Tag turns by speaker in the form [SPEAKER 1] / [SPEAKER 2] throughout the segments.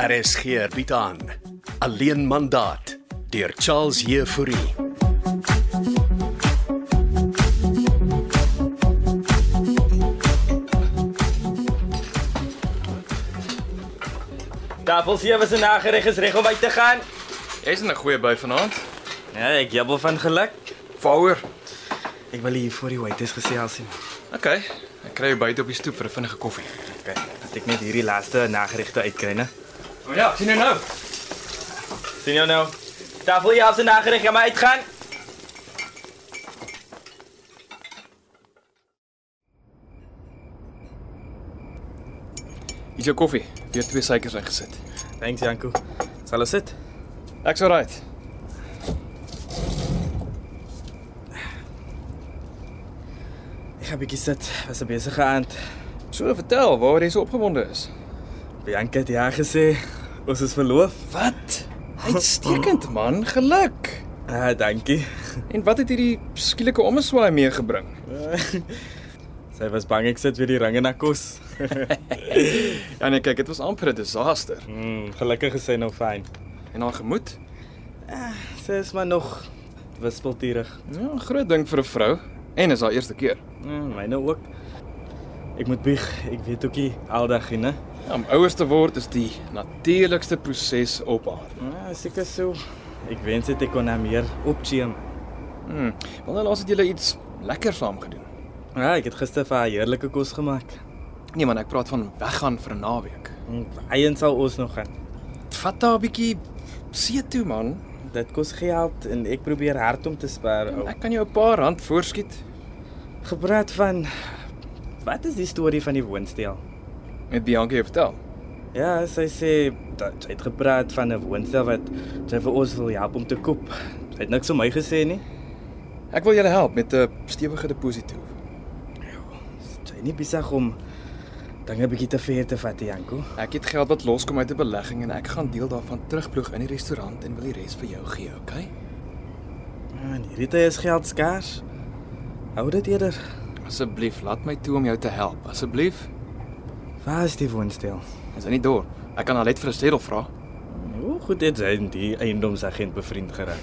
[SPEAKER 1] RSG bied aan Alleen mandaat deur Charles Heffouri.
[SPEAKER 2] Tafel 7 se nagereg is reg om uit te gaan.
[SPEAKER 3] Jy's in 'n goeie by vanaand.
[SPEAKER 2] Ja, ek jabbel van geluk.
[SPEAKER 3] Fouer.
[SPEAKER 2] Ek wil hier voor die waiters gesels sien.
[SPEAKER 3] OK. Ek kry jou buite op die stoep vir 'n vinnige koffie.
[SPEAKER 2] Okay, dat ek net hierdie laaste nageregte uitkry, né?
[SPEAKER 3] O ja, sien jou nou.
[SPEAKER 2] Sien jou nou. Tafel 11 se nagereg gaan maar uitgaan.
[SPEAKER 3] Hier is jou koffie. Weer twee suikers ingesit.
[SPEAKER 2] Thanks Janko. Sal ons sit?
[SPEAKER 3] Ek's alright.
[SPEAKER 2] Ek gaan bietjie sit. Was 'n besige aand.
[SPEAKER 3] So vertel waaroor jy so opgewonde is.
[SPEAKER 2] Bianca het ja gesê ons is verloof.
[SPEAKER 3] Wat? Uitstekend man, geluk.
[SPEAKER 2] Ah, dankie.
[SPEAKER 3] En wat het hierdie skielike ommeswaai meegebring?
[SPEAKER 2] Sy was bang ek sit weer die ringe na kos.
[SPEAKER 3] Ja nee, kyk, dit was amper 'n disaster.
[SPEAKER 2] Mm, gelukkig is sy nou fyn.
[SPEAKER 3] En haar gemoed?
[SPEAKER 2] Sy is maar nog wispelturig.
[SPEAKER 3] Ja, 'n groot ding vir 'n vrou en is haar eerste keer.
[SPEAKER 2] Mm, myne ook. Ek moet bieg. Ek weet ookie aldag, hè.
[SPEAKER 3] Ja, om ouer te word is die natuurlikste proses op aarde.
[SPEAKER 2] Ja, seker so. Ek wens dit ek kon haar meer opcheem.
[SPEAKER 3] Hm. Wanneer laas het jy iets lekker saam gedoen?
[SPEAKER 2] Ja, ek het gister vir haar heerlike kos gemaak.
[SPEAKER 3] Nee man, ek praat van weggaan vir 'n naweek.
[SPEAKER 2] Eien sal ons nog gaan.
[SPEAKER 3] Vat daar 'n bietjie see toe man.
[SPEAKER 2] Dit kos geld en ek probeer hard om te spaar. Ou.
[SPEAKER 3] Ek kan jou 'n paar rand voorskiet.
[SPEAKER 2] Gepraat van Wat is die storie van die woonstel?
[SPEAKER 3] Met Bianca jou vertel.
[SPEAKER 2] Ja, sy sê dat sy het gepraat van 'n woonstel wat sy vir ons wil help om te koop. Sy het niks van my gesê nie.
[SPEAKER 3] Ek wil julle help met 'n stewige deposito.
[SPEAKER 2] Sy is nie besig om dinge bietjie te ver te vat, Janko.
[SPEAKER 3] Ek het geld wat loskom uit 'n belegging en ek gaan deel daarvan terugploeg in die restaurant en wil die res vir jou gee, okay?
[SPEAKER 2] Ja, en hierdie tyd is geld skaars. Hou dit eerder.
[SPEAKER 3] Asseblief, laat my toe om jou te help. Asseblief.
[SPEAKER 2] Waar is die woonstel?
[SPEAKER 3] Is in die dorp. Ek kan al net vir 'n steddel vra.
[SPEAKER 2] Hoe goed het hy die eiendomsagent bevriend geraak?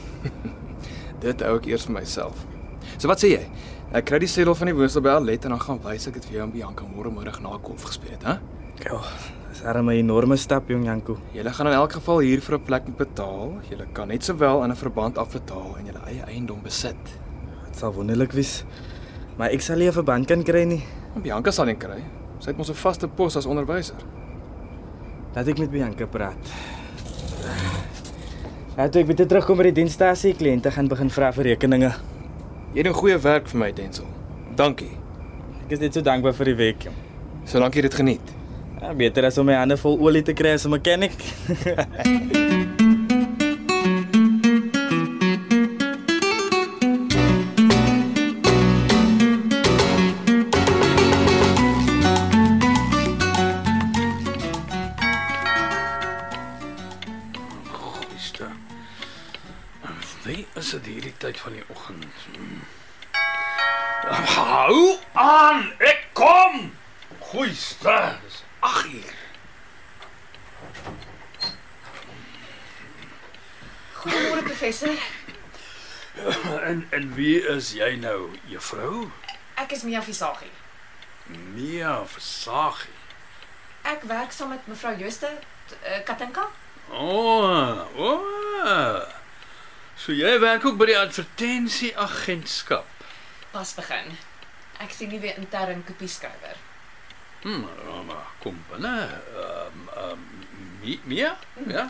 [SPEAKER 3] Dit hou ek eers vir myself. So wat sê jy? Ek kry die steddel van die woonstel by Alet en dan gaan wys ek dit vir jou en Bianca môre middag na kolf gespeel het, hè?
[SPEAKER 2] Ja, dis arm 'n enorme stap jong Janko.
[SPEAKER 3] Julle gaan in elk geval hier vir 'n plek moet betaal. Julle kan net sowel in 'n verband afbetaal en julle eie eiendom besit.
[SPEAKER 2] Dit sal wonderlik wees. Maar ek sal nie 'n verband kan kry nie.
[SPEAKER 3] En Bianca sal dit kry. Sy het mos 'n vaste pos as onderwyser.
[SPEAKER 2] Laat ek met Bianca praat. Laat ek bietjie terugkom by die dienstasie. Kliënte gaan begin vra vir rekeninge.
[SPEAKER 3] Jy doen goeie werk vir my, Denzel. Dankie.
[SPEAKER 2] Ek is net so dankbaar vir die week. jong.
[SPEAKER 3] Solank jy dit geniet.
[SPEAKER 2] Ja, beter as om my hande vol olie te kry as 'n mechanic.
[SPEAKER 4] Goeieste. Wie is dit hierdie tyd van die oggend? Hmm. Hou aan, ek kom. Goeieste. Dis 8 uur.
[SPEAKER 5] Goeiemôre professor.
[SPEAKER 4] En en wie is jy nou, juffrou?
[SPEAKER 5] Ek is Mia Visagie.
[SPEAKER 4] Mia Versagie.
[SPEAKER 5] Ek werk saam met mevrou Jooste eh, Katinka.
[SPEAKER 4] O, oh, o. Oh. So jy werk ook by die advertensieagentskap.
[SPEAKER 5] Pas begin. Ek sien nie weer intern kopie skrywer.
[SPEAKER 4] Hm, maar kom binne. Ehm ehm Mi- Mia? Ja.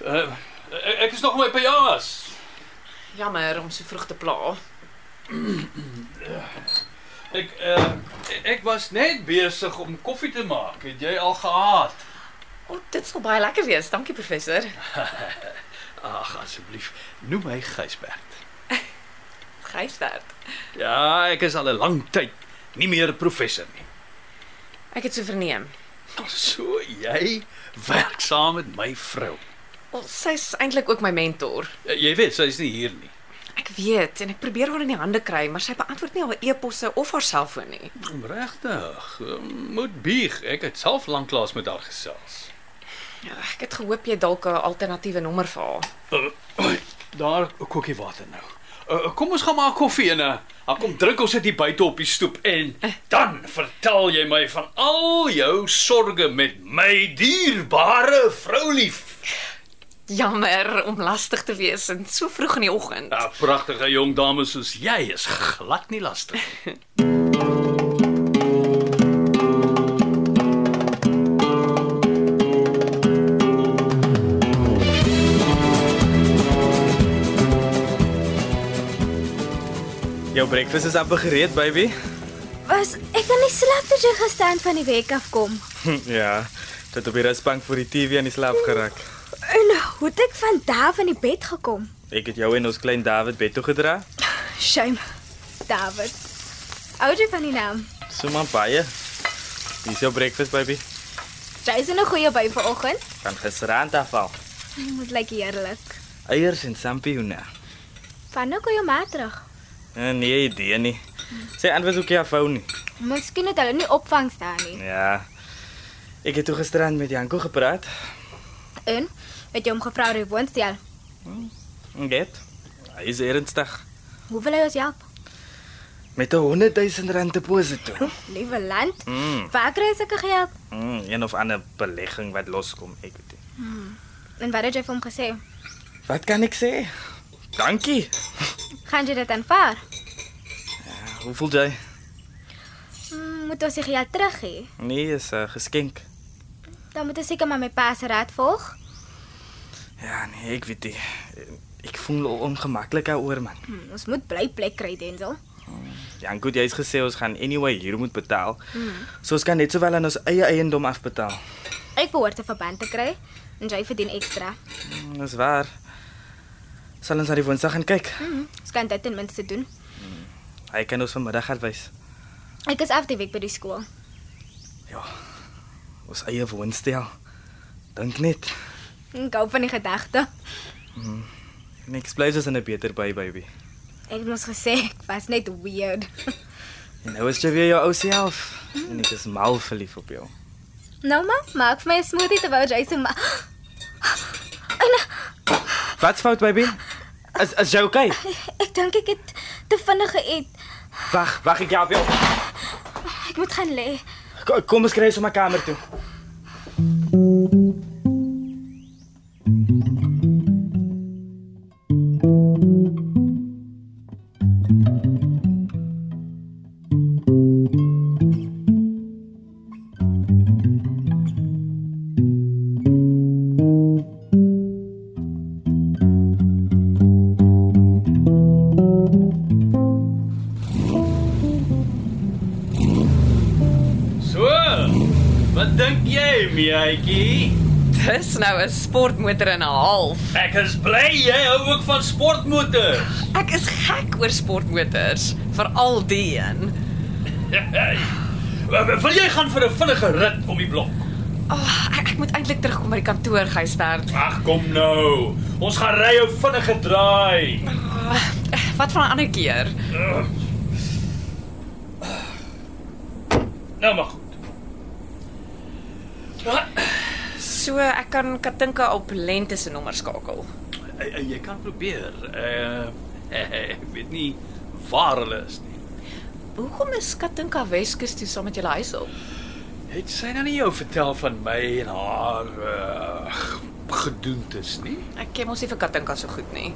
[SPEAKER 4] Uh, ek is nog in my pyjamas.
[SPEAKER 5] Jammer om so vroeg te pla.
[SPEAKER 4] Ek uh, ek was net besig om koffie te maak. Het jy al gehaat?
[SPEAKER 5] O, oh, dit sal baie lekker wees. Dankie professor.
[SPEAKER 4] Ag asseblief, noem my Gysbert.
[SPEAKER 5] Gryswerd.
[SPEAKER 4] Ja, ek is al 'n lang tyd nie meer professor nie.
[SPEAKER 5] Ek het so verneem.
[SPEAKER 4] So jy werk saam met my vrou.
[SPEAKER 5] O, sy's eintlik ook my mentor.
[SPEAKER 4] Ja, Jy weet, sy is nie hier nie.
[SPEAKER 5] Ek weet en ek probeer haar in die hande kry, maar sy beantwoord nie haar e-posse of haar selfoon nie.
[SPEAKER 4] Regtig, moet bieg. Ek het self lanklaas met haar gesels.
[SPEAKER 5] Ja, Ek het gehoop jy het dalk 'n alternatiewe nommer vir haar.
[SPEAKER 4] Uh, daar 'n kokkie water nou. Uh, kom ons gaan maak koffie en uh, dan kom drink ons dit hier buite op die stoep en dan vertel jy my van al jou sorges met my dierbare vroulief.
[SPEAKER 5] Jammer om lastig te wees en so vroeg in die oggend.
[SPEAKER 4] Ja, pragtige jong dame soos jy is glad nie lastig.
[SPEAKER 2] Jou breakfast is amper gereed, baby.
[SPEAKER 6] Was ek kan nie slaap dat jy gisterand van die werk af kom.
[SPEAKER 2] ja. Dit op die rusbank voor die TV in die slaap geraak.
[SPEAKER 6] En hoe het ek van daar van die bed gekom?
[SPEAKER 2] Ek het jou en ons klein David bed toe gedra.
[SPEAKER 6] Shame. David. Hou jy van die naam?
[SPEAKER 2] So man baie. Dis jou breakfast, baby.
[SPEAKER 6] Jy's in 'n goeie by vanoggend.
[SPEAKER 2] Kan gisterand afval.
[SPEAKER 6] Dit moet lyk heerlik.
[SPEAKER 2] Eiers en sampioene.
[SPEAKER 6] Wanneer kom jou ma terug?
[SPEAKER 2] Eh, Nee, idee nie. Sy antwoord ook nie afhou nie.
[SPEAKER 6] Miskien het hulle nie opvang staan nie.
[SPEAKER 2] Ja. Ek het toe gisterand met Janko gepraat.
[SPEAKER 6] En het jy hom gevra oor die woonstel?
[SPEAKER 2] Net. Hy is ernstig
[SPEAKER 6] Hoe wil hy ons help?
[SPEAKER 2] met 'n 100 000 rand deposito.
[SPEAKER 6] Liewe land.
[SPEAKER 2] Mm.
[SPEAKER 6] Waar kry ek geld?
[SPEAKER 2] Mm, een of ander belegging wat loskom, ek weet nie.
[SPEAKER 6] En wat het jy vir hom gesê?
[SPEAKER 2] Wat kan ek sê? Dankie.
[SPEAKER 6] Gaan jy dit aanvaar?
[SPEAKER 2] Hoe voel jy?
[SPEAKER 6] Mm, moet ons die geld terug hê?
[SPEAKER 2] Nee, is 'n geskenk.
[SPEAKER 6] Dan moet ek seker maar my pa se raad volg.
[SPEAKER 2] Ja, nee, ek weet nie. Ek voel ongemaklik daaroor, man.
[SPEAKER 6] Hmm, ons moet bly plek kry, Denzel.
[SPEAKER 2] Janko, jy het gesê ons gaan anyway huur moet betaal. Mm. So ons kan net sowel aan ons eie eiendom afbetaal.
[SPEAKER 6] Ek behoort 'n verband te kry en jy verdien ekstra.
[SPEAKER 2] Mm, Dis waar. Sal ons na die woensdag gaan kyk.
[SPEAKER 6] Mm, ons kan dit ten minste doen.
[SPEAKER 2] Hy kan ons vanmiddag uitwys.
[SPEAKER 6] Ek is af die week by die skool.
[SPEAKER 2] Ja. Ons eie woonstel. Dink net.
[SPEAKER 6] Ek hou van die gedagte.
[SPEAKER 2] Niks bly soos in 'n beter by baby.
[SPEAKER 6] Ek het mos gesê ek was net weird.
[SPEAKER 2] En nou is jy weer jou ou self. En ek is mal verlief op jou.
[SPEAKER 6] Nou maar, maak vir my 'n smoothie terwyl jy so maar.
[SPEAKER 2] Wat's fout baby? Is is jy okay?
[SPEAKER 6] Ek dink ek het te vinnig geëet.
[SPEAKER 2] Wag, wag ek help jou.
[SPEAKER 6] Ek moet gaan lê.
[SPEAKER 2] Kom, kom ons kry ons op my kamer toe.
[SPEAKER 4] So, wat dink jy, meetjie?
[SPEAKER 5] Dis nou 'n sportmotor en 'n half.
[SPEAKER 4] Ek is bly jy hou ook van sportmotors.
[SPEAKER 5] Ek is gek oor sportmotors, veral die een.
[SPEAKER 4] Wil jy gaan vir 'n vinnige rit om die blok?
[SPEAKER 5] Oh, ek, ek moet eintlik terugkom by die kantoor, Gysbert.
[SPEAKER 4] Ag kom nou. Ons gaan ry 'n vinnige draai.
[SPEAKER 5] Oh, wat van 'n ander keer?
[SPEAKER 4] Nou maar goed. Ah,
[SPEAKER 5] So ek kan Katinka op lente se nommer skakel.
[SPEAKER 4] eh, eh, Jy kan probeer. Uh ek weet nie waar hulle is nie.
[SPEAKER 5] Hoekom is Katinka Weskus toe saam met julle huis op?
[SPEAKER 4] Het sy nou nie jou vertel van my en haar uh gedoentes nie?
[SPEAKER 5] Ek ken mos nie vir Katinka so goed nie.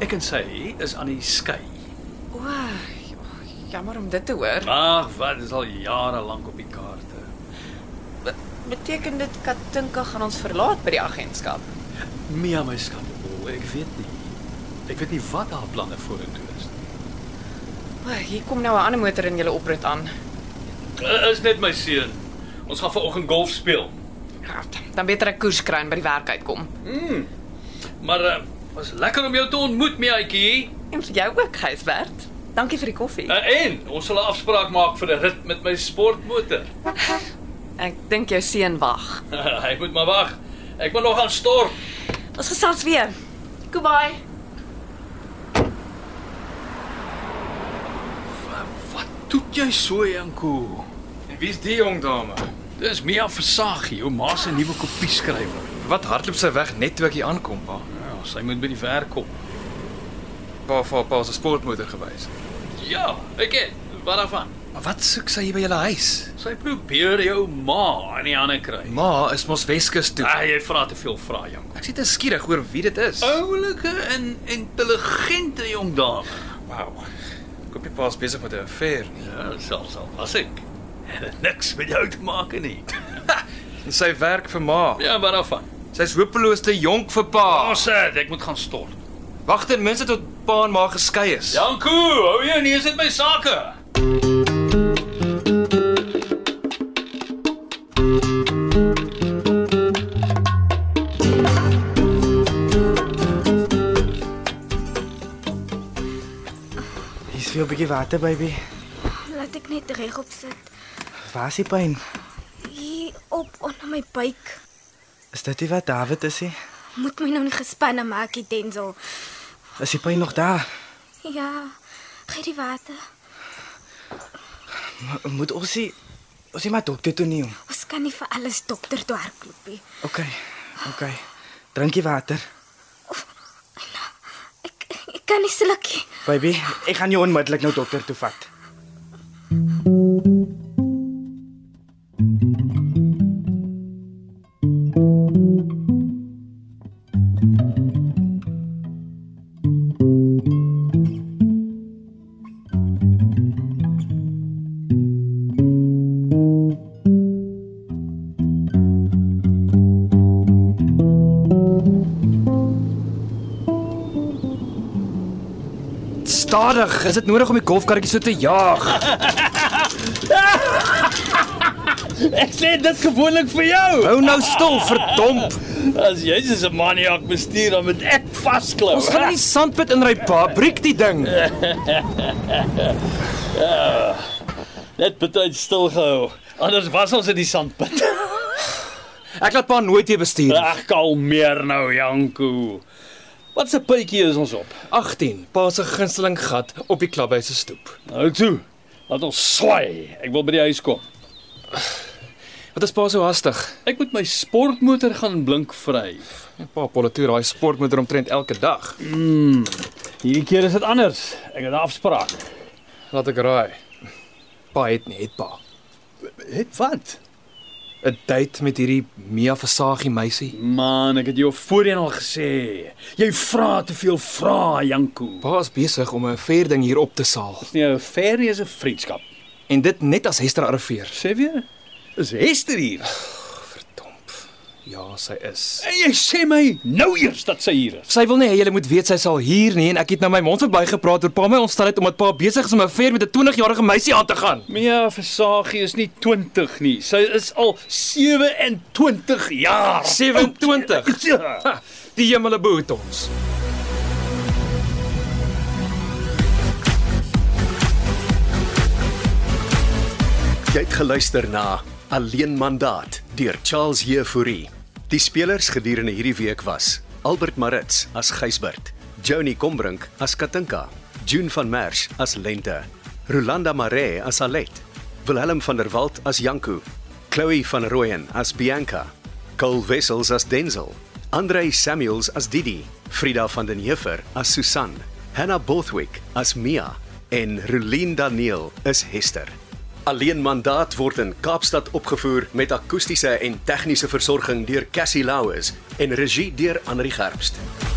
[SPEAKER 4] Ek en sy is aan die skei.
[SPEAKER 5] O, ja, jammer om dit te hoor.
[SPEAKER 4] Ag, wat is al jare lank op die kaarte.
[SPEAKER 5] Be- Beteken dit Katinka gaan ons verlaat by die agentskap?
[SPEAKER 4] Mia my skandel. Ek weet nie. Ek weet nie wat haar planne vorentoe is. nie.
[SPEAKER 5] O, hier kom nou 'n ander motor in julle oprit aan.
[SPEAKER 4] Eh, Is net my seun. Ons gaan vanoggend golf speel.
[SPEAKER 5] Ja, dan beter ek koers kry en by die werk uitkom.
[SPEAKER 4] Mm. Maar uh, was lekker om jou te ontmoet, Miaatjie.
[SPEAKER 5] En vir jou ook, Gysbert. Dankie vir die koffie.
[SPEAKER 4] Uh, en ons sal 'n afspraak maak vir 'n rit met my sportmotor.
[SPEAKER 5] Ek dink jou seun wag.
[SPEAKER 4] Hy moet maar wag. Ek moet nog aan stort.
[SPEAKER 5] Ons gesels weer. Goodbye.
[SPEAKER 4] Wat doen jy so, Janko?
[SPEAKER 3] En wie's die jong dame?
[SPEAKER 4] Dis Mia Versaghi, jou ma se nuwe kopieskrywer.
[SPEAKER 3] Wat hardloop sy weg net toe ek hier aankom, pa?
[SPEAKER 4] Ja, sy moet by die werk kom.
[SPEAKER 3] Pa vir pa se sportmotor gewys.
[SPEAKER 4] Ja, ek het. Wat daarvan?
[SPEAKER 3] Maar wat soek sy hier by julle huis?
[SPEAKER 4] Sy probeer jou ma aan die hande kry.
[SPEAKER 3] Ma is mos Weskus toe.
[SPEAKER 4] Ah, jy vra te veel vrae, jong.
[SPEAKER 3] Ek sit eskierig oor wie dit is.
[SPEAKER 4] Oulike en intelligente jong dame.
[SPEAKER 3] wow. Ek hoop nie pa's besig met 'n affair nie.
[SPEAKER 4] Ja, selfs al was ek. Het dit niks met jou te maak nie.
[SPEAKER 3] En Sy werk vir ma.
[SPEAKER 4] Ja, maar daarvan.
[SPEAKER 3] Sy's hopeloos te jonk vir pa.
[SPEAKER 4] Ons het, ek moet gaan stort.
[SPEAKER 3] Wag ten minste tot pa en ma geskei is.
[SPEAKER 4] Janko, hou jy nie is dit my sake?
[SPEAKER 2] Hier's veel bietjie water, baby.
[SPEAKER 6] Laat ek net regop sit.
[SPEAKER 2] Waar is die pyn?
[SPEAKER 6] Hier op onder my buik.
[SPEAKER 2] Is dit nie wat David is nie?
[SPEAKER 6] Moet my nou nie gespanne maak, die Denzel.
[SPEAKER 2] Is die pyn nog daar?
[SPEAKER 6] Ja. Gee die water.
[SPEAKER 2] M moet ons nie ons nie maar dokter toe neem.
[SPEAKER 6] Ons kan nie vir alles dokter toe hardloop nie.
[SPEAKER 2] OK. OK. Drink die water.
[SPEAKER 6] Ek ek kan nie slukkie.
[SPEAKER 2] Baby, ek gaan jou onmiddellik nou dokter toe vat.
[SPEAKER 3] Stadig, is dit nodig om die golfkarretjie so te jaag?
[SPEAKER 4] Ek sê dit gewoonlik vir jou.
[SPEAKER 3] Hou nou stil, verdomp.
[SPEAKER 4] As jy is 'n maniak bestuur, dan moet ek vasklou. Ja.
[SPEAKER 3] Ons gaan nie sandpit inry pa, breek die ding.
[SPEAKER 4] net betyds stil gehou. Anders was ons in die sandpit.
[SPEAKER 3] Ek laat pa nooit weer bestuur. nie.
[SPEAKER 4] Ag, kalmeer nou, Janko. Wat 'n pypie is ons op.
[SPEAKER 3] 18, pa se gunsteling gat op die klubhuis se stoep.
[SPEAKER 4] Nou toe. Laat ons swaai. Ek wil by die huis kom.
[SPEAKER 3] Wat is pa so hastig?
[SPEAKER 4] Ek moet my sportmotor gaan blink vryf.
[SPEAKER 3] Pa politoer daai sportmotor omtrent elke dag.
[SPEAKER 4] Hierdie keer is dit anders. Ek het 'n afspraak.
[SPEAKER 3] Laat ek raai. Pa het nie, het pa.
[SPEAKER 4] Het wat?
[SPEAKER 3] 'n Date met hierdie Mia Versagie meisie.
[SPEAKER 4] Man, ek het jou voorheen al gesê. Jy vra te veel vrae, Janko.
[SPEAKER 3] Pa is besig om 'n fair ding hier op te saal
[SPEAKER 4] Nee, 'n ferie is 'n vriendskap.
[SPEAKER 3] en dit net as Hester arriveer.
[SPEAKER 4] Sê weer? Is Hester hier?
[SPEAKER 3] Verdomp. Ja, sy is.
[SPEAKER 4] En jy sê my nou eers dat sy hier is.
[SPEAKER 3] Sy wil nie hê julle moet weet sy sal hier nie en ek het nou my mond verby gepraat oor pa my ontstelheid omdat pa besig is om 'n fair met 'n 20-jarige meisie aan te gaan.
[SPEAKER 4] Mia Versagie is nie 20 nie. Sy is al 27 jaar.
[SPEAKER 3] 27.
[SPEAKER 4] Ja.
[SPEAKER 3] Ha, die hemele behoed ons.
[SPEAKER 1] Jy het geluister na Alleen Mandaat deur Charles Jefouri. Die spelers gedurende hierdie week was Albert Maritz as Gysbert, Johnny Combrink as Katinka, June van Merwe as Lente, Rolanda Maree as Alet, Willem van der Walt as Janku, Chloe van Rooyen as Bianca, Cole Wessels as Denzel, Andrei Samuels as Didi, Frida van den Heever as Susan, Hannah Bothwick as Mia en Rulien Daniel is Hester. Alleen mandaat word in Kaapstad opgevoer met akoestiese en tegniese versorging deur Cassie Louws en regie deur Anri Gerbst.